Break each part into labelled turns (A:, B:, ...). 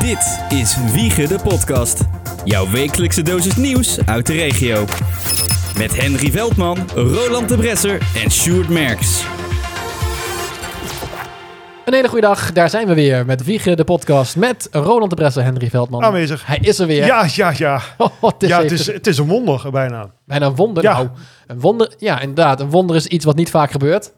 A: Dit is Wiegen de Podcast. Jouw wekelijkse dosis nieuws uit de regio. Met Henry Veldman, Roland de Bresser en Sjoerd Merks.
B: Een hele goede dag, daar zijn we weer met Wiegen, de podcast met Roland de Bresser, Henry Veldman.
C: Aanwezig.
B: Hij is er weer.
C: Ja, ja, ja.
B: Oh, het is,
C: ja het,
B: even-
C: is, het is een wonder bijna.
B: bijna een wonder.
C: Ja.
B: Nou, een wonder, ja, inderdaad. Een wonder is iets wat niet vaak gebeurt.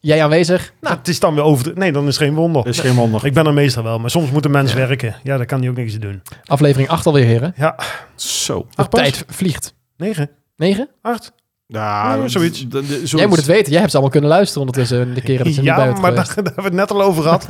B: Jij aanwezig? Nou,
C: Het is dan weer over. de- Nee, dan is het geen wonder.
D: Dat is geen wonder.
C: Ik ben er meestal wel, maar soms moet een mens werken. Ja, daar kan hij ook niks aan doen.
B: aflevering 8 alweer, heren.
C: Ja,
D: Zo.
B: De
C: Acht pas?
B: tijd vliegt.
C: negen,
B: 9?
C: acht.
D: Ja,
C: Ja, zoiets.
D: d- d- zoiets.
B: Jij moet het weten. Jij hebt ze allemaal kunnen luisteren ondertussen. De keren dat ze niet
C: Ja,
B: bij bent
C: maar daar,
B: geweest.
C: daar hebben we het net al over gehad.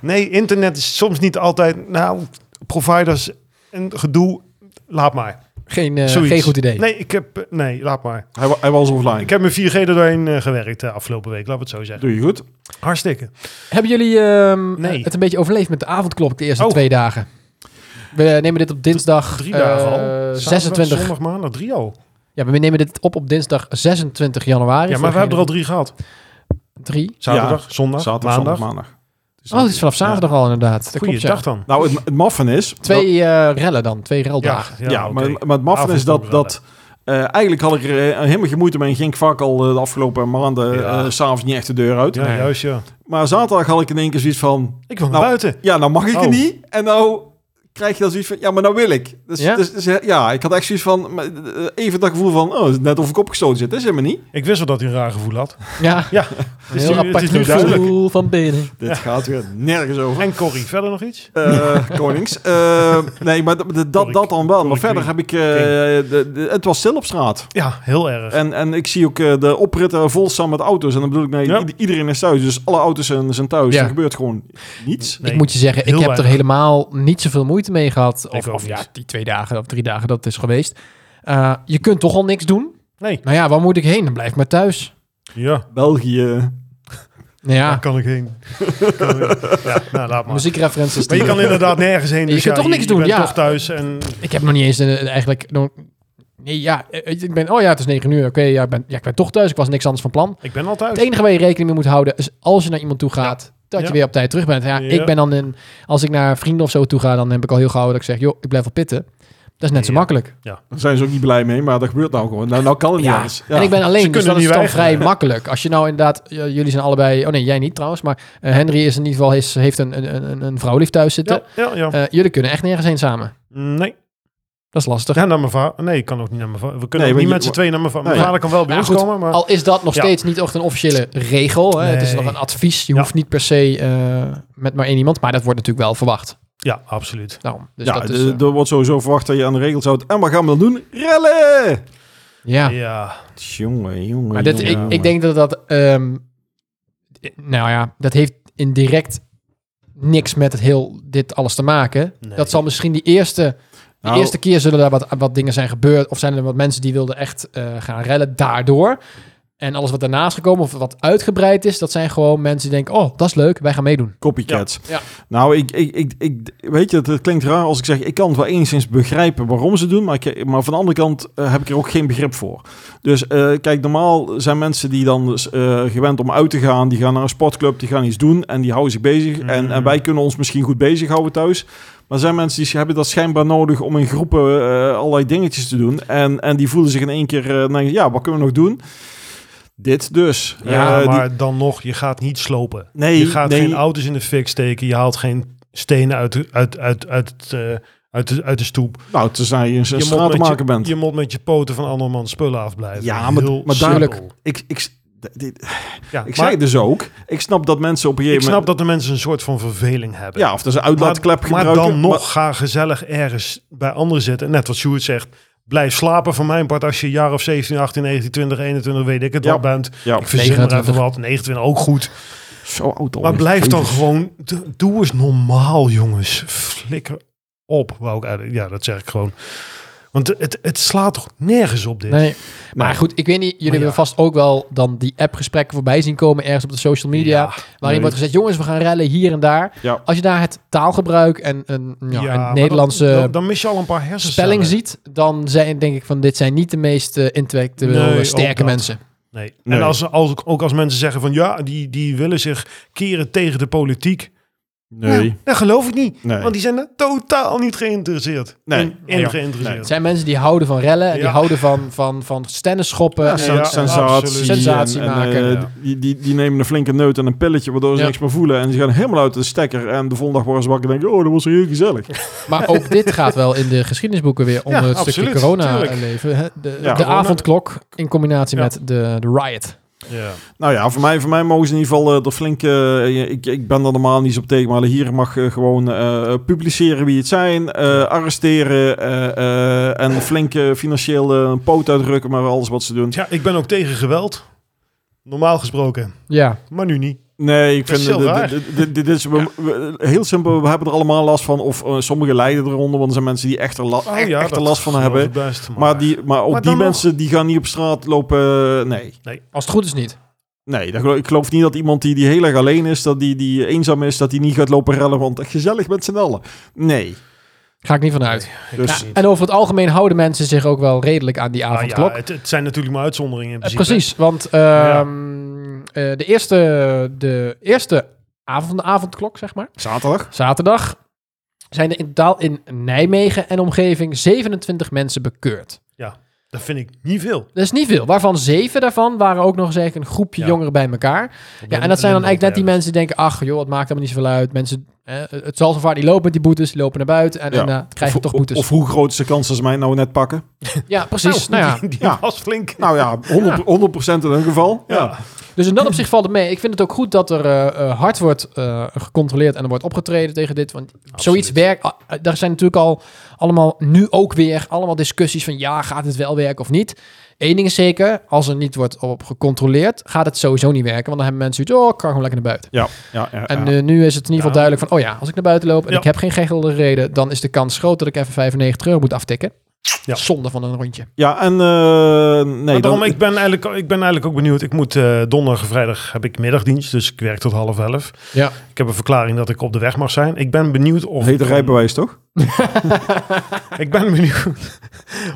C: Nee, internet is soms niet altijd. Nou, providers en gedoe. Laat maar.
B: Geen, eh,
C: Zoiets.
B: geen goed idee.
C: Nee, ik heb. Nee, laat maar.
D: Hij, wa- hij was offline.
C: Ik heb mijn 4G er doorheen eh, gewerkt de afgelopen week, laten we het zo zeggen.
D: Doe je goed?
C: Hartstikke.
B: Hebben jullie ehm,
C: Nee.
B: het een beetje overleefd met de avondklok de eerste
C: Oh.
B: twee dagen? We nemen dit op dinsdag
C: Drie
B: eh,
C: dagen al. Zaterdag,
B: 26.
C: Zondag, maandag, drie al.
B: Ja, maar we nemen dit op op dinsdag 26 januari.
C: Ja,
B: Voor
C: maar we hebben er al
B: degene-
C: drie gehad.
B: drie.
C: Zaterdag, zondag,
D: Zaterdag,
C: maandag.
D: zondag, maandag. Dus
B: Oh, het is vanaf zaterdag al inderdaad. Dat klopt, ja.
C: Goeiedag dan.
D: Nou, het, het maffen is...
B: Twee eh, rellen dan, twee reldagen.
D: dat- ja, maar, maar het maffen is dat... dat eh, eigenlijk had ik er eh, helemaal geen moeite mee. en Ging ik vaak al eh, de afgelopen maanden
C: Ja.
D: eh, s s'avonds niet echt de deur uit.
C: Ja, juist ja.
D: Maar zaterdag had ik in één keer zoiets van...
C: Ik wil naar
D: Nou,
C: buiten.
D: Ja, nou mag ik
C: Oh.
D: het niet. En nou krijg je dan zoiets van... Ja, maar nou wil ik. Dus,
B: Ja?
D: ja? Dus, dus, eh, ja, ik had echt zoiets van... maar, eh, Even dat gevoel van... Oh, het is net of ik opgestoten zit. Dat is helemaal niet.
C: Ik wist wel dat hij een raar gevoel had.
B: Ja,
C: Ja,
B: een heel
C: nu- het is
B: apart
C: nu
B: gevoel
C: duidelijk.
B: van binnen.
D: Dit gaat weer nergens over.
C: En Corrie, verder nog iets?
D: Eh, Konings. Eh, nee, maar d- d- dat, dat dan wel. Maar
C: Koning
D: verder
C: Queen.
D: heb ik... eh, de- de- het was stil op straat.
C: Ja, heel erg.
D: En, en ik zie ook eh, de opritten vol staan met auto's. En dan bedoel ik, nee,
C: Ja.
D: ied- iedereen is thuis. Dus alle auto's zijn, zijn thuis.
B: Ja.
D: Er gebeurt gewoon niets.
C: Nee.
B: ik moet je zeggen, ik
C: heel
B: heb er
C: weinig.
B: helemaal niet zoveel moeite mee gehad. Of,
C: ook
B: of ja,
C: niet.
B: die twee dagen of drie dagen dat het is geweest. Eh, je kunt toch al niks doen?
C: Nee.
B: Nou ja, waar moet ik heen? Dan blijf ik maar thuis.
C: Ja,
D: België.
B: Nou
C: daar
B: ja,
C: kan ik heen. ja, nou, laat maar.
B: muziekreferenties.
C: Maar je kan inderdaad nergens heen.
B: Je
C: Dus
B: kunt
C: ja,
B: toch niks
C: je
B: doen,
C: bent
B: ja.
C: toch thuis. En
B: Ik heb nog niet eens eh, eigenlijk... nog- Nee, ja, eh, ik ben... Oh ja, het is negen uur. Oké, ja, ik ben, ja, ik ben toch thuis. Ik was niks anders van plan.
C: ik ben al thuis.
B: Het enige waar je rekening mee moet houden is als je naar iemand toe gaat, dat je
C: Ja.
B: weer op tijd terug bent. Ja,
C: Ja.
B: Ik ben dan in, als ik naar vrienden of zo toe ga, dan heb ik al heel gauw dat ik zeg, joh, ik blijf wel pitten. Dat is net zo
C: Ja.
B: makkelijk.
D: Daar zijn ze ook niet blij mee. Maar dat gebeurt nou gewoon. Nou, nou kan het niet
B: Ja.
D: anders. Ja.
B: En ik ben alleen, dus
C: kunnen
B: dat is
C: niet
B: dan
C: weigeren.
B: vrij makkelijk. Als je nou inderdaad, j- jullie zijn allebei, oh nee, jij niet trouwens, maar eh, Henry is in ieder geval, is, heeft een, een, een, een vrouwlief thuis zitten.
C: Ja, ja, ja.
B: Eh, jullie kunnen echt nergens heen samen.
C: Nee,
B: Dat is lastig.
C: ja, naar mijn vader. Nee, ik kan ook niet naar mijn vader. We kunnen
D: Nee,
C: ook niet
D: maar
C: met
D: je-
C: z'n tweeën naar mijn vader. Mijn
D: Nee.
C: vader kan wel bij
B: Ja,
C: ons
B: goed.
C: komen, maar...
B: Al is dat nog
C: Ja.
B: steeds niet echt een officiële regel. Hè? Het is
C: Nee.
B: nog een advies. Je
C: Ja.
B: hoeft niet per se eh, met maar één iemand, maar dat wordt natuurlijk wel verwacht.
C: Ja, absoluut.
B: Daarom. Dus
D: ja,
B: dat is,
D: de-
B: eh,
D: er wordt sowieso verwacht dat je aan de regels houdt. En wat gaan we dan doen? Rellen!
B: ja.
C: Ja,
D: Jongen, jongen,
B: Maar dit,
D: jongen,
B: ik,
D: jongen.
B: ik denk dat dat... ehm, nou ja, dat heeft indirect niks met het heel, dit alles te maken.
C: Nee.
B: Dat zal misschien die eerste... De
D: Nou.
B: eerste keer zullen daar wat, wat dingen zijn gebeurd. Of zijn er wat mensen die wilden echt eh, gaan rellen daardoor. En alles wat daarna is gekomen of wat uitgebreid is... dat zijn gewoon mensen die denken... oh, dat is leuk, wij gaan meedoen.
D: Copycats.
B: Ja. Ja.
D: Nou, ik, ik, ik, ik, weet je, het- het klinkt raar als ik zeg, ik kan het wel enigszins begrijpen waarom ze doen, maar, ik, maar van de andere kant eh, heb ik er ook geen begrip voor. Dus eh, kijk, normaal zijn mensen die dan dus, eh, gewend om uit te gaan, die gaan naar een sportclub, die gaan iets doen en die houden zich bezig.
C: Mhm.
D: En, en wij kunnen ons misschien goed bezighouden thuis. Maar er zijn mensen die hebben dat schijnbaar nodig om in groepen eh, allerlei dingetjes te doen. En, en die voelen zich in één keer, eh, nou, ja, wat kunnen we nog doen? Dit dus.
C: ja
D: Eh, die-
C: maar dan nog, je gaat niet slopen.
D: nee,
C: je gaat
D: nee,
C: geen auto's in de fik steken. Je haalt geen stenen uit de, uit, uit, uit, het, eh, uit, de, uit de stoep.
D: Nou, tenzij je een
C: je,
D: straat te
C: met
D: maken
C: je,
D: bent.
C: je moet met je poten van andermans spullen afblijven.
D: Ja, maar-
C: Heel
D: maar
C: simpel.
B: duidelijk.
D: Ik, ik, d- dit-
C: Ja,
D: ik
C: maar
D: zei het dus ook. Ik snap dat mensen op een
C: ik
D: gegeven
C: snap
D: moment...
C: dat de mensen een soort van verveling hebben.
D: Ja, of dat ze een uitlaatklep
C: maar, maar
D: gebruiken.
C: dan nog, ga gezellig ergens bij anderen zitten. En Net wat Sjoerd zegt, blijf slapen van mijn part als je jaar of 17, 18, 19, 20, 21, weet ik het
D: Ja.
C: wat bent.
D: ja,
C: Ik verzin er
B: 29.
C: even wat, 29 ook goed.
D: zo oud al.
C: Maar blijf dan
D: Jezus.
C: gewoon, d- doe eens normaal, jongens. Flikker op, wou ik eigenlijk- Ja, dat zeg ik gewoon. Want het, het slaat toch nergens op dit?
B: Nee. Maar goed, ik weet niet, jullie
C: Maar ja.
B: hebben vast ook wel dan die appgesprekken voorbij zien komen ergens op de social media.
C: Ja,
B: waarin
D: nee.
B: wordt gezegd, jongens, we gaan rellen hier en daar.
D: Ja.
B: Als je daar het taalgebruik en een ja,
C: Ja,
B: een
C: maar
B: Nederlandse
C: Dan, dan, dan mis je al een paar hersencellen.
B: spelling ziet, dan zijn denk ik van dit zijn niet de meest eh, intellectueel
C: Nee, ook
B: sterke
C: dat.
B: mensen.
C: Nee.
D: Nee.
C: En als, als, ook als mensen zeggen van ja, die, die willen zich keren tegen de politiek.
D: Nee.
C: Nou, dat geloof ik niet.
D: nee.
C: Want die zijn er totaal niet geïnteresseerd.
D: Nee.
C: In, in
D: Ja.
B: Het
C: geïnteresseerd.
B: zijn mensen die houden van rellen. en Die
C: Ja.
B: houden van, van, van stennisschoppen. Eh,
D: Ja,
B: en-
D: sen-
C: ja,
D: sensatie.
C: absoluut.
B: Sensatie
D: en, en,
B: maken,
D: eh,
C: ja.
D: die, die, die nemen een flinke neut en een pilletje, waardoor ze
B: Ja.
D: niks meer voelen. En ze gaan helemaal uit de stekker. En de volgende dag worden ze wakker en denken, oh, dat was heel gezellig.
B: Maar ook dit gaat wel in de geschiedenisboeken weer om
C: Ja,
B: het
C: absoluut,
B: stukje corona
C: tuurlijk.
B: leven. hè. De,
D: Ja,
B: de
D: corona.
B: avondklok in combinatie
C: Ja.
B: met de, de riot.
C: Ja.
D: Nou ja, voor mij, voor mij mogen ze in ieder geval eh, er flink... eh, ik, ik ben er normaal niet zo op tegen, maar hier mag eh, gewoon eh, publiceren wie het zijn. eh, arresteren eh, eh, en flink eh, financieel eh, een poot uitdrukken maar alles wat ze doen.
C: ja, ik ben ook tegen geweld. Normaal gesproken.
B: Ja,
C: Maar nu niet.
D: Nee, ik
C: Dat
D: vind...
C: is
D: Dit,
C: heel raar.
D: dit- dit- dit is we- we- heel simpel, we hebben er allemaal last van. Of eh, sommigen lijden eronder, want er zijn mensen die echt er, la- echt, echt er
C: Oh dat
D: last van
C: geloof
D: hebben.
C: ik best, maar,
D: Maar, die, maar ook
C: Maar dan
D: die
C: nog-
D: mensen die gaan niet op straat lopen. eh, Nee.
B: als het goed is niet.
D: Nee, dat geloof- ik geloof niet dat iemand die, die heel erg alleen is, dat die, die eenzaam is, dat die niet gaat lopen rellen. Want gezellig met z'n allen. Nee.
B: Ga ik niet van uit.
C: Ik
D: dus-
C: weet
B: Ja,
C: niet.
B: en over het algemeen houden mensen zich ook wel redelijk aan die
C: Maar Ah, ja,
B: avondklok.
C: het, het zijn natuurlijk maar uitzonderingen in
B: Eh,
C: principe.
B: precies, want ehm,
C: Ja.
B: eh, de eerste, de eerste avond, de avondklok, zeg maar,
D: Zaterdag?
B: zaterdag, zijn er in totaal in Nijmegen en omgeving 27 mensen bekeurd.
C: Dat vind ik niet veel.
B: Dat is niet veel, waarvan zeven daarvan waren ook nog eens even een groepje
C: Ja.
B: jongeren bij elkaar. Ja, en dat zijn dan eigenlijk net die
C: Nou,
B: mensen die denken, ach joh, het maakt helemaal niet zoveel uit. Mensen, eh, het zal zo vaak niet lopen met die boetes, die lopen naar buiten en,
D: Ja.
B: en, eh, krijgen
D: of,
B: toch
D: of-
B: boetes.
D: Of, hoe groot is de kans dat ze mij nou net pakken?
B: ja, precies. Nou, ja.
C: Die, die
D: Ja.
C: was flink.
D: Nou ja, 100%, 100 in hun geval. Ja.
C: Ja.
B: Dus in dat opzicht valt het mee. Ik vind het ook goed dat er eh, eh, hard wordt eh, gecontroleerd en er wordt opgetreden tegen dit. Want zoiets werkt, ah, eh, daar zijn natuurlijk al allemaal, nu ook weer, allemaal discussies van ja, gaat het wel werken of niet. Eén ding is zeker, als er niet wordt op gecontroleerd, gaat het sowieso niet werken. Want dan hebben mensen zoiets, oh, ik kan gewoon lekker naar buiten.
D: Ja, ja, ja,
B: En
D: ja.
B: eh, nu is het in ieder geval duidelijk van, oh ja, als ik naar buiten loop en
C: Ja.
B: ik heb geen gehelde reden, dan is de kans groot dat ik even 95 euro moet aftikken.
C: Ja.
B: Zonde van een rondje.
D: Ja, en eh, nee,
C: Maar daarom,
D: dan,
C: ik, ben eigenlijk, ik ben eigenlijk ook benieuwd. Ik moet eh, donderdag en vrijdag heb ik middagdienst, dus ik werk tot half elf.
B: Ja.
C: Ik heb een verklaring dat ik op de weg mag zijn. Ik ben benieuwd of...
D: heet het rijbewijs toch?
C: Ik ben benieuwd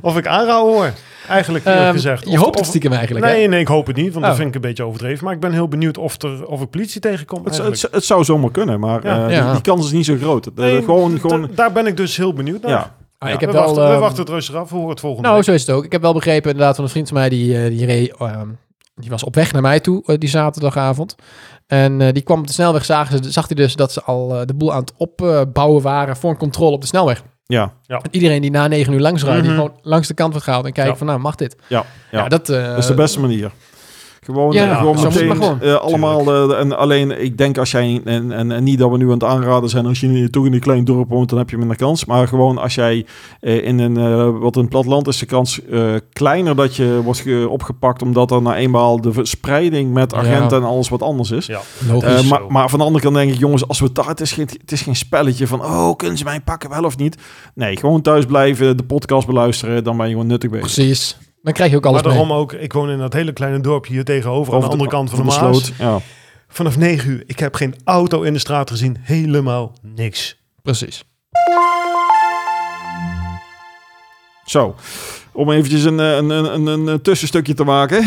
C: of ik aanhouden hoor. Eigenlijk eerlijk gezegd.
B: Ehm, je
C: Of-
B: hoopt het
C: of-
B: stiekem eigenlijk, hè?
C: Nee, nee, ik hoop het niet, want dat
B: Oh.
C: vind ik een beetje overdreven. Maar ik ben heel benieuwd of, er, of ik politie tegenkom.
D: Het,
C: eigenlijk.
D: het, het zou zomaar kunnen, maar
C: Ja.
D: eh, die-
B: Ja.
D: Die, kans is niet zo groot. Eh,
C: Nee,
D: gewoon,
C: d-
D: gewoon,
C: d- daar ben ik dus heel benieuwd naar.
D: ja.
B: Ah,
D: Ja.
B: ik heb
C: we, wachten,
B: wel,
C: we
B: ehm,
C: wachten het rustig af. We horen het volgende
B: Nou,
C: week.
B: zo is het ook. Ik heb wel begrepen inderdaad van een vriend van mij, die, eh, die, reed, ehm, die was op weg naar mij toe eh, die zaterdagavond. En eh, die kwam op de snelweg, zagen ze, zag hij dus dat ze al eh, de boel aan het opbouwen waren voor een controle op de snelweg.
D: Ja,
B: En iedereen die na negen uur langs rijdt,
C: Mhm.
B: die gewoon langs de kant wordt gehaald en kijkt
C: Ja.
B: van, nou, mag dit?
D: ja,
B: Ja,
D: ja.
B: dat, eh,
D: Dat is de beste manier. Gewoon,
B: Ja,
D: eh, gewoon
C: zo moet het
D: meteen
B: maar gewoon.
D: eh, allemaal. eh, en alleen, ik denk als jij, en, en, en niet dat we nu aan het aanraden zijn, als je in- toch in een klein dorp woont, dan heb je minder kans. Maar gewoon als jij eh, in een, eh, wat een platteland is, de kans eh, kleiner dat je wordt ge- opgepakt, omdat er nou eenmaal de verspreiding met
B: Ja.
D: agenten en alles wat anders is.
C: Ja.
B: logisch.
D: Eh,
C: Is
D: maar,
C: zo.
D: maar van de andere kant denk ik, jongens, als we het daar, het is, geen, het is geen spelletje van, oh, kunnen ze mij pakken wel of niet? Nee, gewoon thuis blijven, de podcast beluisteren, dan ben je gewoon nuttig bezig.
B: Precies. Dan krijg je ook alles
C: maar daarom
B: mee.
C: ook, ik woon in dat hele kleine dorpje hier tegenover, aan de
D: Over
C: andere kant van de, Maas.
D: sloot. Ja.
C: Vanaf 9 uur, ik heb geen auto in de straat gezien, helemaal niks.
B: Precies.
D: Zo, om eventjes een, eh, een, een, een, een, een tussenstukje te maken.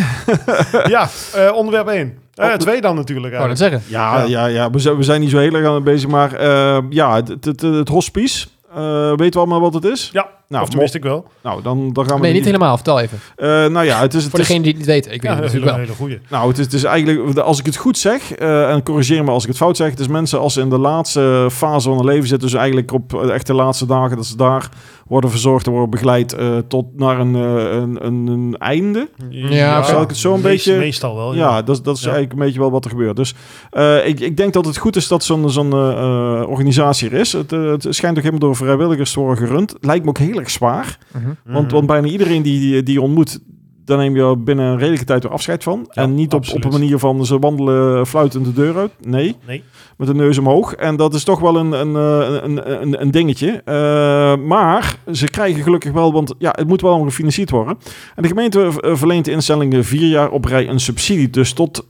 C: ja, eh, onderwerp 1. Eh,
D: Op-
C: twee dan natuurlijk.
B: Ik wou
C: eigenlijk.
B: dat zeggen.
D: Oh, Ja, ja, ja we, zijn, we zijn niet zo heel erg aan bezig, maar eh, ja, het, het, het, het hospice. eh, weten we allemaal wat het is?
C: Ja,
D: Nou,
C: of tenminste ik wel.
D: Nou, dan, dan gaan we...
B: Nee, niet
D: er
B: helemaal. Vertel even.
D: Eh, nou ja, het is... Het
B: Voor
D: is
B: degene die het niet weten. Ik weet het
C: Ja, een
B: natuurlijk
C: hele,
B: wel.
C: hele goede.
D: Nou, het is, het is eigenlijk, als ik het goed zeg, eh, en corrigeer me als ik het fout zeg, het is mensen als ze in de laatste fase van hun leven zitten, dus eigenlijk op eh, echt de laatste dagen, dat ze daar worden verzorgd en worden begeleid eh, tot naar een, eh, een, een, een einde.
B: Ja,
D: zal ik het zo een
C: meest-
D: beetje-
C: Meestal wel, Oh, ja.
D: Ja, dat, is- dat is
C: Ja.
D: eigenlijk een beetje wel wat er gebeurt. Dus eh, ik, ik denk dat het goed is dat zo'n zo'n eh, eh, organisatie er is. Het, eh, het schijnt ook helemaal door vrijwilligers te worden gerund. Lijkt me ook heel erg zwaar.
B: Mhm.
D: Want,
C: Mm.
D: want bijna iedereen die, die, die je ontmoet, daar neem je binnen een redelijke tijd weer afscheid van.
C: Ja,
D: en niet op, op
C: absoluut.
D: een manier van ze wandelen fluitend de deur uit. Nee,
C: Nee.
D: met de neus omhoog. En dat is toch wel een, een, eh, een, een, een dingetje. Eh, maar ze krijgen gelukkig wel, want ja, het moet wel allemaal gefinancierd worden. En de gemeente eh, verleent de instellingen vier jaar op rij een subsidie. Dus tot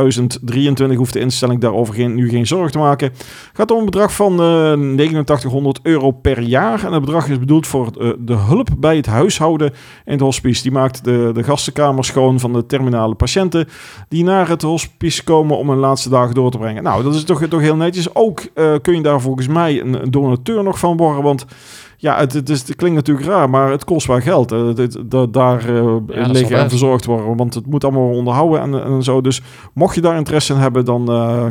D: 2023 hoeft de instelling daarover geen, nu geen zorg te maken. gaat om een bedrag van eh, 8900 euro per jaar. En het bedrag is bedoeld voor eh, de hulp bij het huishouden in het hospice. Die maakt de de, de gastenkamer schoon van de terminale patiënten die naar het hospice komen om hun laatste dagen door te brengen. Nou, dat is toch, toch heel netjes. Ook eh, kun je daar volgens mij een, een donateur nog van worden, want ja, het, het, is, het klinkt natuurlijk raar, maar het kost wel geld. Eh, het- het- dat- daar eh,
B: wel
D: liggen en
B: waar.
D: verzorgd worden, want het moet allemaal onderhouden en, en zo. Dus mocht je daar interesse in hebben, dan eh,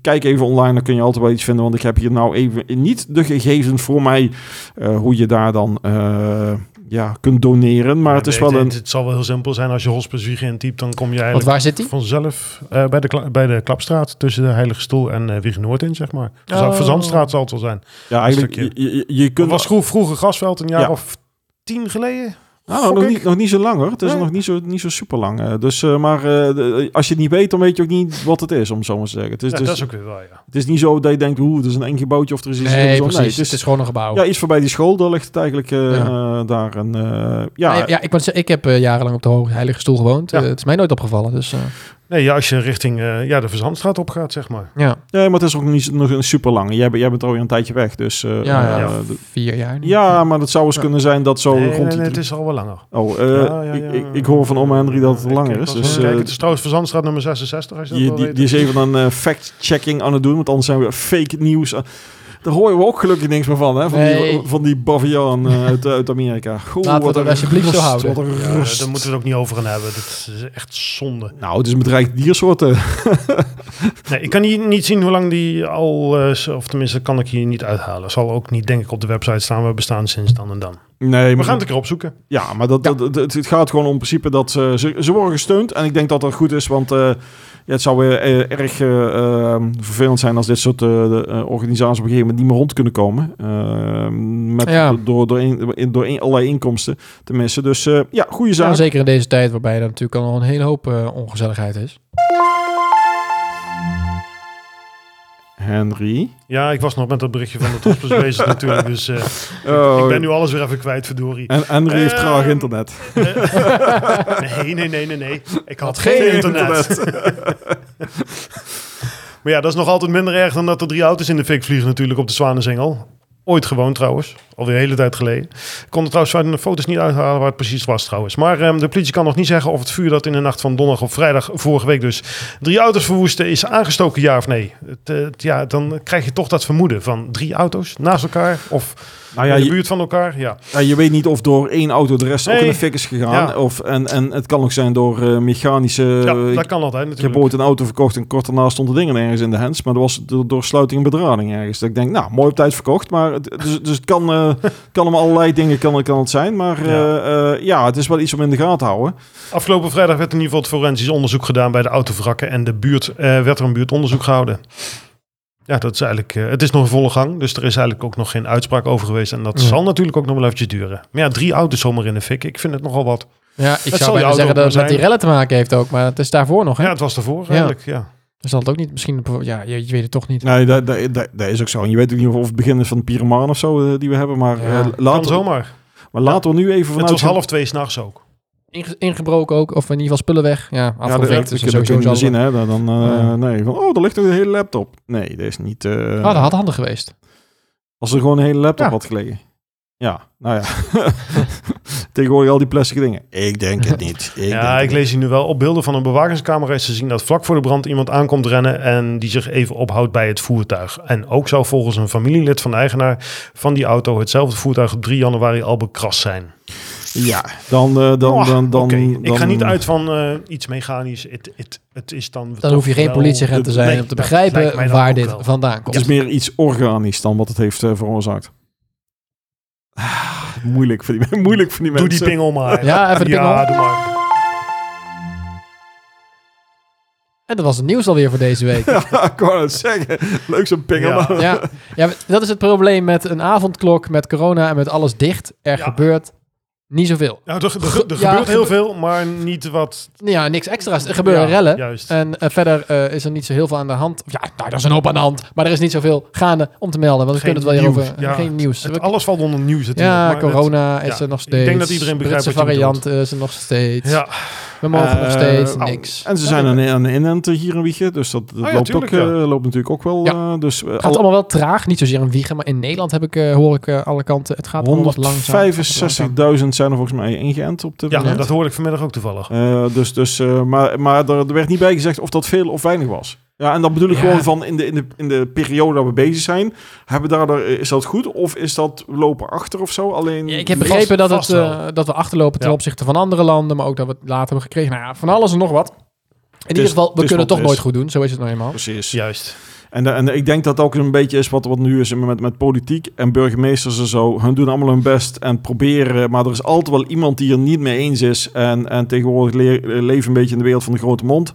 D: kijk even online, dan kun je altijd wel iets vinden. Want ik heb hier nou even niet de gegevens voor mij eh, hoe je daar dan eh, ja, kunt doneren. Maar het is wel een...
C: Het, het zal wel heel simpel zijn. Als je hospice Wiegen intypt, dan kom je
B: Want
C: eigenlijk
B: waar zit die?
C: vanzelf eh, bij, de Kla- bij de Klapstraat tussen de Heilige Stoel en eh Wiegen Noord in, zeg maar. Verza-
B: Oh.
C: Verzandstraat zal het wel zijn.
D: Ja, eigenlijk, je,
C: stukje.
D: je, je
C: Dat
D: kunt...
C: was vroeg, vroeger Grasveld, een jaar
D: Ja.
C: of tien geleden.
D: Nou,
C: gok
D: nog
C: ik.
D: niet, nog niet zo lang hoor. Het is
C: Nee.
D: nog niet zo, niet zo super lang. dus, eh, maar eh, de- als je het niet weet, dan weet je ook niet wat het is, om het zo maar te zeggen. Het is,
C: Ja,
D: dus,
C: dat is ook weer wel, ja.
D: het is niet zo dat je denkt, hoe, het is een eng gebouwtje of er is iets
B: Nee,
D: heel
B: precies.
D: bijzonders.
B: het, is,
D: het is
B: gewoon een gebouw.
D: Ja, iets voorbij die school, daar ligt het eigenlijk eh,
B: Ja.
D: eh, daar een... eh, ja,
B: Nee, ja, ik, wou zeggen, ik heb eh, jarenlang op de Hoge Heilige Stoel gewoond.
C: Ja.
B: Eh, het is mij nooit opgevallen. Dus, eh,
C: Nee, ja, als je richting eh, ja, de Verzandstraat opgaat, zeg maar.
B: ja.
D: nee, maar het is ook niet nog een super lang. Jij, bent- jij bent alweer een tijdje weg, dus... eh,
B: Ja, ja,
D: eh,
C: ja.
D: d-
B: vier jaar nu.
D: ja, maar het zou eens
B: Ja.
D: kunnen zijn dat zo
C: nee,
D: rond
C: nee,
D: die...
C: nee, het is al wel langer.
D: Oh, eh,
C: Ja, ja, ja.
D: Ik, ik, ik hoor van oma Henry dat het
C: Ik-
D: langer
C: ik
D: is.
C: was
D: Dus,
C: aan het kijken.
D: eh,
C: het is trouwens Verzandstraat nummer 66, als je dat
D: Die,
C: wil
D: die,
C: weten.
D: die is even een eh, fact-checking aan het doen, want anders zijn we fake nieuws. aan- daar horen we ook gelukkig niks meer van, hè? Van
B: Nee.
D: die, van die baviaan eh, uit, uit Amerika. Goed,
B: Laten we dat alsjeblieft zo houden.
D: Wat een
C: Ja,
D: rust.
C: daar moeten we het ook niet over gaan hebben. Dat is echt zonde.
D: Nou, het is een bedreigd eh. diersoorten.
C: Nee, ik kan hier niet zien hoe lang die al, eh, z- of tenminste kan ik hier niet uithalen. Zal ook niet denk ik op de website staan. We bestaan sinds dan en dan.
D: Nee,
C: We
D: maar,
C: gaan het een keer opzoeken.
D: ja, maar dat, dat- dat- het gaat gewoon om het principe dat ze, ze, ze worden gesteund. En ik denk dat dat goed is, want eh, ja, het zou weer eh, erg eh, eh, vervelend zijn als dit soort eh, de, eh, organisaties op een gegeven moment niet meer rond kunnen komen. Eh, met,
B: Ja.
D: Door, door, een- door een- allerlei inkomsten te missen. Dus eh, ja, goede zaak.
B: Nou, zeker in deze tijd waarbij er natuurlijk al een hele hoop eh, ongezelligheid is.
D: Henry.
C: Ja, ik was nog met dat berichtje van de toppers bezig natuurlijk. Dus eh, ik ben nu alles weer even kwijt, verdorie.
D: Oh. En Henry heeft
C: Eh,
D: traag internet.
C: Nee, nee, nee, nee, nee. Ik had
B: geen
C: geen, internet. maar ja, dat is nog altijd minder erg dan dat er drie auto's in de fik vliegen natuurlijk op de Zwanenzengel. Ooit gewoon trouwens, alweer een hele tijd geleden. Ik kon er trouwens van de foto's niet uithalen waar het precies was trouwens. Maar ehm, de politie kan nog niet zeggen of het vuur dat in de nacht van donderdag op vrijdag vorige week dus drie auto's verwoestte is aangestoken ja of nee. Het, eh, het- ja, dan krijg je toch dat vermoeden van drie auto's naast elkaar of
D: Nou ja,
C: in de
D: je,
C: buurt van elkaar. Ja.
D: ja, je weet niet of door één auto de rest ook in de
C: Nee.
D: fik is gegaan.
C: Ja.
D: Of, en, en het kan ook zijn door eh, mechanische... eh,
C: ja,
D: ik,
C: dat kan altijd
D: ik heb
C: natuurlijk.
D: ooit een auto verkocht en kort daarna stonden dingen ergens in de hands. Maar dat was door, door sluiting en bedrading ergens. Dat ik denk, nou, mooi op tijd verkocht. Maar het, dus, dus het kan, eh kan om allerlei dingen kan, kan het zijn. Maar eh, eh, ja, het is wel iets om in de gaten te houden.
C: Afgelopen vrijdag werd in ieder geval het forensisch onderzoek gedaan bij de autovrakken en de buurt, eh, werd er een buurtonderzoek gehouden. Ja, dat is eigenlijk, eh, het is nog in volle gang, dus er is eigenlijk ook nog geen uitspraak over geweest. En dat
B: Ja.
C: zal natuurlijk ook nog wel eventjes duren. Maar ja, drie auto's zomaar in de fik, ik vind het nogal wat.
B: Ja, ik
C: zal
B: zou
C: je
B: bijna
C: auto
B: zeggen
C: ook
B: dat
C: maar
B: het met die
C: zijn.
B: rellen te maken heeft ook, maar het is daarvoor nog. Hè?
C: Ja, het was ervoor eigenlijk, ja.
B: Dus dat het ook niet misschien... Ja, je, je weet het toch niet.
D: Nee, dat, dat, dat, dat is ook zo. En je weet ook niet of het begin is van de pyromaan of zo eh, die we hebben. Maar,
B: Ja,
D: eh,
B: kan
C: Kan
D: laten, we-
C: zomaar.
D: maar laten we nu even vanuit...
C: Het was half twee s'nachts ook.
B: Inge- ingebroken ook, of in ieder geval spullen weg. Ja,
D: Ja, dat,
B: afgewerkt. dus
D: dat, dat,
B: sowieso
D: kun je
B: zal
D: niet zien,
B: het-
D: hè? Dan, dan, eh,
B: Ja.
D: Nee, van, oh, daar ligt nog een hele laptop. Nee, dat is niet... eh,
B: Ah, dat had handig geweest.
D: Als er gewoon een hele laptop
B: Ja.
D: had gelegen. Ja, nou ja. Tegenwoordig al die plastic dingen. Ik denk het niet. Ik
C: ja,
D: denk
C: ik
D: het
C: lees hier nu wel. Op beelden van een bewakingscamera is te zien dat vlak voor de brand iemand aankomt rennen en die zich even ophoudt bij het voertuig. En ook zou volgens een familielid van de eigenaar van die auto hetzelfde voertuig op 3 januari al bekrast zijn.
D: niet. Ja, dan... eh, dan, dan,
C: Oh,
D: dan, dan,
C: oké. Ik ga niet uit van eh, iets mechanisch. Het, het, het is dan.
B: Dan hoef je geen politieagent te zijn om te begrijpen waar dit
C: van.
B: vandaan
D: Het
B: komt.
D: is meer iets organisch dan wat het heeft eh, veroorzaakt. Ah, moeilijk voor die, moeilijk voor die
C: Doe die
D: mensen.
C: pingel maar.
B: Ja, even de
C: Ja,
B: pingel.
C: doe maar.
B: En dat was het nieuws alweer voor deze week.
D: Ja, ik wou het zeggen. Leuk zo'n pingel.
C: Ja.
D: maar-
B: ja, ja, maar dat is het probleem met een avondklok, met corona en met alles dicht. Er
C: Ja.
B: gebeurt niet zoveel.
C: Nou, er, er- er
B: Ja,
C: gebeurt heel
B: gebe-
C: veel, maar niet wat.
B: Nou Ja, niks extra's. Er gebeuren
C: Ja,
B: rellen.
C: Juist.
B: En eh, verder eh, is er niet zo heel veel aan de hand. Ja, nou, er is een hoop aan de hand. Maar er is niet zoveel gaande om te melden. Want we
C: Geen
B: kunnen het wel
C: nieuws,
B: hierover. over
C: ja.
B: Geen nieuws.
C: Het-
B: dus We-
C: alles valt onder nieuws. natuurlijk,
B: ja,
C: maar het-
B: corona is
C: ja,
B: er nog
C: ik
B: steeds.
C: denk dat iedereen begrijpt
B: Britse
C: wat je
B: variant is er nog steeds.
C: ja, oh.
B: We mogen nog
D: Eh,
B: steeds
D: nou,
B: niks.
D: En ze zijn aan, aan de inenten hier een wiegen, dus dat, dat
C: ja,
D: loopt,
C: tuurlijk,
D: ook,
C: ja.
D: eh, loopt natuurlijk ook wel.
B: Ja.
D: eh, dus, eh,
B: Het gaat allemaal wel traag. Niet zozeer een wiegen, maar in Nederland heb ik, eh, hoor ik eh, alle kanten. Het gaat allemaal wat langzaam. Langzaam.
D: 165.000 zijn er volgens mij ingeënt op dit
C: Ja,
D: moment.
C: dat hoorde ik vanmiddag ook toevallig.
D: Eh, dus, dus, eh, maar maar er, er werd niet bij gezegd of dat veel of weinig was. Ja, en dan bedoel ik
B: Ja.
D: gewoon van in de, in, de, in de periode dat we bezig zijn, hebben we daardoor, eh, is dat goed of is dat we lopen achter of zo? Alleen
B: Ja, ik heb
D: vast-
B: begrepen dat, het,
C: vast wel.
B: eh, dat we achterlopen ten
C: Ja.
B: opzichte van andere landen, maar ook dat we het later hebben gekregen. Nou ja, van alles en nog wat. In ieder
D: is-
B: geval,
D: het
B: we kunnen
D: is Dus- wat
B: het toch
D: het
B: nooit
D: is. Dus-
B: goed doen. Zo is het nou eenmaal.
D: Precies.
C: Juist.
D: En, de- en ik denk dat dat ook een beetje is wat, wat nu is met, met politiek en burgemeesters en zo. Hun doen allemaal hun best en proberen, maar er is altijd wel iemand die er niet mee eens is. En, en tegenwoordig le- eh, leven een beetje in de wereld van de grote mond.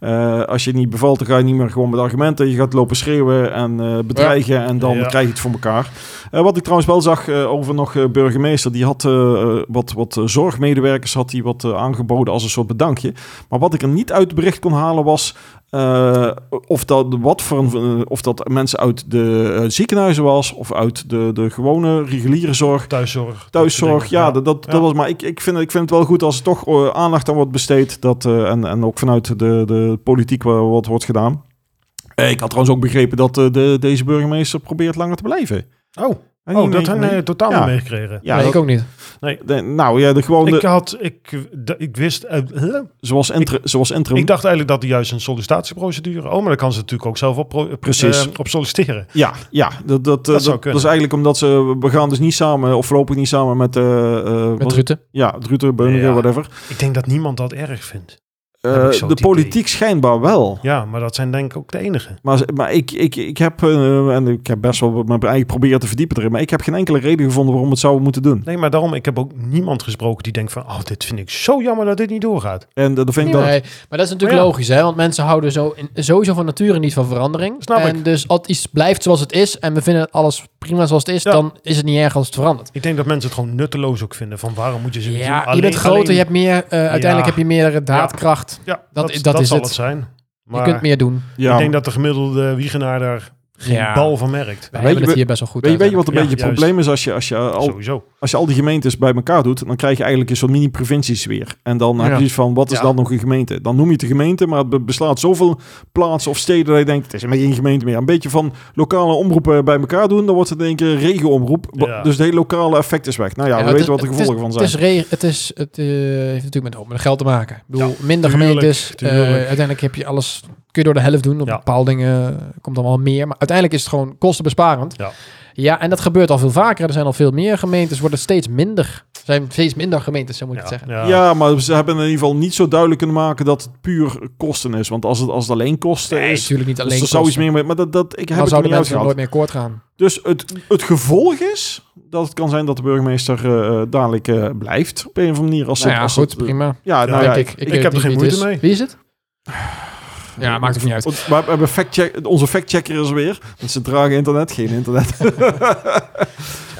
D: Eh, als je het niet bevalt, dan ga je niet meer gewoon met argumenten. Je gaat lopen schreeuwen en eh, bedreigen en dan
C: Ja.
D: krijg je het voor elkaar. Eh, wat ik trouwens wel zag eh, over nog eh, burgemeester, die had eh, wat, wat eh, zorgmedewerkers had die wat eh, aangeboden als een soort bedankje. Maar wat ik er niet uit het bericht kon halen was eh, of, dat, wat voor een, eh, of dat mensen uit de eh, ziekenhuizen was of uit de, de gewone reguliere zorg.
C: Thuiszorg. dat
D: Thuiszorg,
C: soort dingen.
D: ja, dat, dat,
C: Ja.
D: dat was. Maar ik, ik, vind, ik vind het wel goed als er toch eh, aandacht aan wordt besteed. Dat, eh, en, en ook vanuit de, de politiek wel wat wordt gedaan. Eh, ik had trouwens ook begrepen dat eh, de, deze burgemeester probeert langer te blijven.
C: Oh,
D: En
C: oh
D: die-
C: dat heb
D: nee.
C: ik totaal
D: Ja.
C: niet meegekregen.
D: Ja,
B: nee,
D: dat-
B: ik ook niet.
D: de- nou ja, de gewone.
C: Ik had, ik, d- ik wist, eh, huh?
D: zoals, inter, zoals interim.
C: ik dacht eigenlijk dat hij juist een sollicitatieprocedure. Oh, maar daar kan ze natuurlijk ook zelf op, pro- eh,
D: Precies.
C: eh, op solliciteren.
D: Ja, ja dat, dat, eh,
C: Dat zou
D: dat, dat
C: kunnen.
D: is eigenlijk omdat ze. We gaan dus niet samen, of voorlopig niet samen met. eh eh,
B: Met
D: wat-
B: Rutte.
D: Ja, Rutte, Beuningen,
C: Ja.
D: whatever.
C: Ik denk dat niemand dat erg vindt.
D: Eh,
C: Heb ik zo'n
D: de
C: idee.
D: politiek schijnbaar wel.
C: Ja, maar dat zijn denk ik ook de enige.
D: Maar, ze- maar ik, ik, ik heb, eh, en ik heb best wel mijn eigen proberen te verdiepen erin, maar ik heb geen enkele reden gevonden waarom we het zouden moeten doen.
C: Nee, maar daarom, ik heb ook niemand gesproken die denkt van... Oh, dit vind ik zo jammer dat dit niet doorgaat.
D: En eh, dat dat vind ik dan...
B: Nee, maar dat is natuurlijk
C: Maar ja.
B: logisch, hè? Want mensen houden zo in, sowieso van nature niet van verandering.
C: Snap
B: en
C: ik.
B: dus als iets blijft zoals het is en we vinden alles prima zoals het is,
C: Ja.
B: dan is het niet erg als het verandert.
C: Ik denk dat mensen het gewoon nutteloos ook vinden. Van waarom moet je ze
D: Dus
B: Ja, je bent groter, je hebt meer, eh, uiteindelijk
C: Ja.
B: heb je meer daadkracht.
C: Ja,
B: dat-
C: dat,
B: dat
C: dat,
B: is
C: zal
B: het.
C: het, zijn. Maar
B: Je kunt meer doen.
D: Ja,
C: ik denk dat de gemiddelde wiegenaar daar geen
B: Ja.
C: bal van merkt.
B: We
D: je
B: hebben het
D: wat-
B: hier best wel goed
D: weet, je- weet je wat een
C: Ja,
D: beetje het
C: juist.
D: probleem is? Als je, als, je al,
C: Sowieso.
D: als je al die gemeentes bij elkaar doet, dan krijg je eigenlijk een soort mini-provincies weer. En dan heb
C: Ja.
D: je zoiets van, wat is
C: Ja.
D: dan nog een gemeente? Dan noem je het een gemeente, maar het be- beslaat zoveel plaatsen of steden dat je denkt, het is maar één gemeente meer. Een beetje van lokale omroepen bij elkaar doen, dan wordt het in één keer een regio-omroep. Wa-
C: Ja.
D: Dus het hele lokale effect is weg. Nou ja,
B: Ja,
D: we
B: het
D: weten
B: is-
D: wat
B: het
D: de gevolgen
B: is-
D: van zijn.
B: Het, is re- het, is, het eh, heeft natuurlijk met, een hoop met geld te maken. Ik bedoel, minder
C: tuurlijk,
B: gemeentes. eh,
C: tuurlijk.
B: uiteindelijk heb je alles, kun je door de helft doen. Op
C: Ja.
B: bepaalde dingen komt dan wel meer. Maar uiteindelijk is het gewoon kostenbesparend.
C: Ja.
B: ja, en dat gebeurt al veel vaker. Er zijn al veel meer gemeentes, worden steeds minder. Er zijn steeds minder gemeentes, zo moet ik het zeggen.
C: ja.
D: Ja, maar ze hebben in ieder geval niet zo duidelijk kunnen maken dat het puur kosten is. Want als het, als het alleen kosten
B: Nee,
D: is,
B: natuurlijk niet alleen
D: dus er zou iets
B: kosten.
D: meer mee... Maar dat, dat, ik heb
B: Dan
D: het er
B: zouden
D: niet
B: mensen er
D: uitgehaald.
B: nooit meer akkoord gaan.
D: Dus het, het gevolg is dat het kan zijn dat de burgemeester eh, dadelijk eh, blijft. Op een of andere manier. Als
B: Nou
D: het-
B: ja,
D: als
B: goed,
D: het-
B: prima.
D: Ja, nou
B: denk
D: ja,
B: ik. Ik, eh, weet
C: heb er
B: niet
C: geen
B: wie het
C: moeite
B: is.
C: mee.
B: Wie is het? Ja, maakt ook niet uit.
D: want We hebben factcheck, onze factchecker is er weer. Want ze dragen internet, geen internet.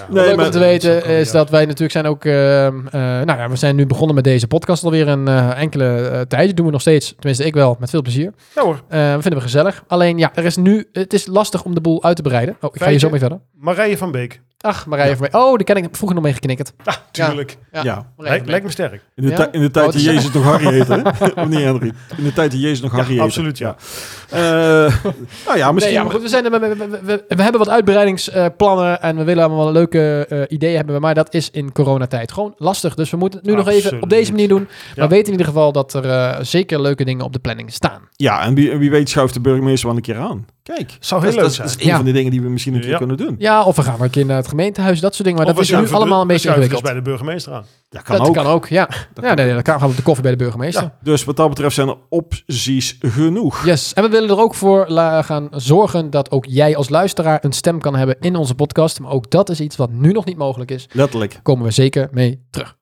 B: Wat
D: Nee,
B: leuk
D: maar-
B: om te weten
C: Zo,
B: is
C: ja.
B: dat wij natuurlijk zijn ook... ehm, eh, nou ja, we zijn nu begonnen met deze podcast alweer een eh, enkele eh, tijdje. Doen we nog steeds, tenminste ik wel, met veel plezier.
C: Ja hoor.
B: Eh, we vinden we gezellig. Alleen ja, er is nu... Het is lastig om de boel uit te breiden. Oh, ik ga hier zo
C: Feitje.
B: mee verder.
C: Marije van Beek.
B: Ach, Marije van mij. Oh, daar ken ik vroeger nog mee geknikkerd.
C: Ah, tuurlijk.
B: Ja.
D: Ja,
B: Marije
C: Lijk-
B: van
C: lijkt
B: Beek.
C: me sterk.
D: In, de
B: Ja?
D: tij- in de tijd
B: Oh,
D: dat
B: het is-
D: Jezus nog Harry heette. hè? Of niet, Henry? In de tijd dat Jezus nog Harry heette.
C: absoluut, ja.
D: Eh, nou ja,
B: Nee,
D: misschien...
B: ja, maar goed, we, zijn er, we, we- we- we hebben wat uitbreidingsplannen en we willen allemaal leuke eh, ideeën hebben. Maar dat is in coronatijd gewoon lastig. Dus we moeten het nu nog even op
C: Absoluut.
B: deze manier doen. Maar
C: Ja.
B: weten in ieder geval dat er eh, zeker leuke dingen op de planning staan.
D: Ja, en wie, en wie weet schuift de burgemeester wel een keer aan. Kijk,
C: Zou
B: Oh,
D: dat,
C: heel
D: is-
C: leuk
D: dat is-
C: zijn.
D: dat is een
B: Ja.
D: van de dingen die we misschien een keer
C: Ja.
D: kunnen doen.
B: Ja, of we gaan ook een keer naar het gemeentehuis, dat soort dingen. Maar
C: Of we
B: dat is nu
C: schuiven
B: allemaal een
C: de- we
B: beetje
C: schuiven
B: ingewikkeld.
C: eens bij de burgemeester aan.
D: Dat kan
B: Dat
D: ook.
B: kan ook, ja. ja,
D: kan
B: nee, dan gaan we op de koffie bij de burgemeester.
D: Dus wat dat betreft zijn er opties genoeg.
B: Yes, en we willen er ook voor la- gaan zorgen dat ook jij als luisteraar een stem kan hebben in onze podcast. Maar ook dat is iets wat nu nog niet mogelijk is.
D: Letterlijk.
B: Komen we zeker mee terug.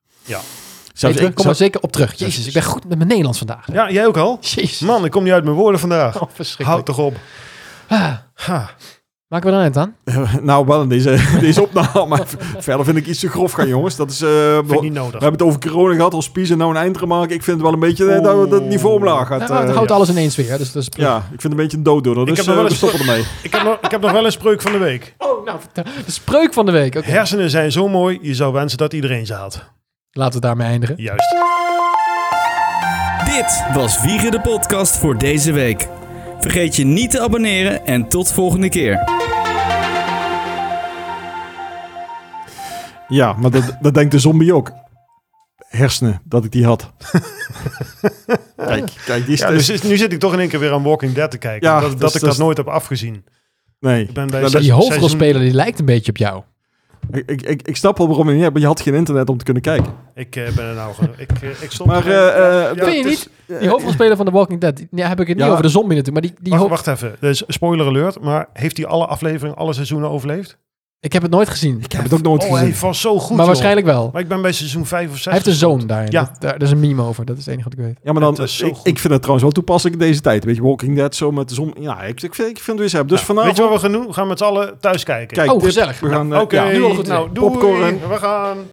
D: Zelfs
B: Peter,
D: ik,
B: kom er
D: zelfs-
B: zeker op terug. Jezus, ik ben goed met mijn Nederlands vandaag.
C: Ja, jij ook al?
B: Jezus.
C: Man, ik kom niet uit mijn woorden vandaag.
B: Oh,
C: Houd
B: verschrikkelijk.
C: toch op.
B: Ah,
C: Ha.
B: maken we dan uit dan?
D: nou, wel in deze, deze opname. Maar v- Verder vind ik iets te grof gaan, jongens. Dat is, eh, we,
C: Vind ik niet
D: we
C: nodig.
D: hebben het over corona gehad, als en nou een eind te maken. Ik vind het wel een beetje eh, dat, dat het niveau omlaag gaat.
B: nou, het
D: eh,
B: houdt
C: ja.
B: alles in één sfeer. Dus, dat is prima.
D: ja, ik vind het een beetje een dooddoener. Dus
C: heb nog
D: eh,
C: wel
D: we
C: eens-
D: stoppen ermee.
C: Ik heb, nog, ik heb nog wel een spreuk van de week.
B: Oh, nou, vertel- de spreuk van de week. Oké,
C: Hersenen zijn zo mooi, je zou wensen dat iedereen ze had.
B: Laten we daarmee eindigen.
C: Juist.
A: Dit was Wiegen de Podcast voor deze week. Vergeet je niet te abonneren en tot volgende keer.
D: Ja, maar dat, dat denkt de zombie ook. Hersenen, dat ik die had. kijk, kijk, die is...
C: Ja, dus is- nu zit ik toch in één keer weer aan Walking Dead te kijken.
D: Ja,
C: dat
D: dus-
C: dat ik dat
D: dus-
C: nooit heb afgezien.
D: nee.
C: Ik ben bij zes-
D: Nou,
B: Die
C: seizoen-
B: hoofdrolspeler die lijkt een beetje op jou.
D: Ik, ik, ik, ik snap wel waarom je niet hebt, maar je had geen internet om te kunnen kijken.
C: Ik eh, ben er nou... gewoon- Ik, eh, ik stond
D: Maar,
C: er-
D: eh, eh,
C: ja,
D: Vind
B: je
C: het is-
B: Die hoofdrolspeler van The Walking Dead. die- Ja, heb ik het niet
D: Ja.
B: over de zombie natuurlijk. Maar die, die
C: Wacht,
B: hoofd-
C: wacht even. Dus spoiler alert. Maar heeft hij alle afleveringen, alle seizoenen overleefd?
B: Ik heb het nooit gezien.
D: Ik heb het ook nooit
C: Oh, hij
D: gezien.
C: was zo goed,
B: maar
C: joh.
B: waarschijnlijk wel.
C: Maar ik ben bij seizoen 5 of 6.
B: Hij heeft een zoon daarin.
C: Ja.
B: Dat- daar, daar is een meme over. Dat is het enige wat ik weet.
D: Ja, maar dan,
C: Het is zo
D: ik,
C: goed.
D: ik vind het trouwens wel toepasselijk in deze tijd. Weet je, Walking Dead zo met de zon. Ja, ik, ik vind, ik vind het weer zo. Dus vanavond...
C: Weet je wat we gaan doen? We gaan met z'n allen thuis kijken.
D: Kijk,
B: Oh,
D: dit-
B: gezellig.
D: We gaan... eh,
C: Oké,
D: ja.
B: nu al goed
C: nou
D: idee.
C: doei.
D: Popcorn.
C: We gaan...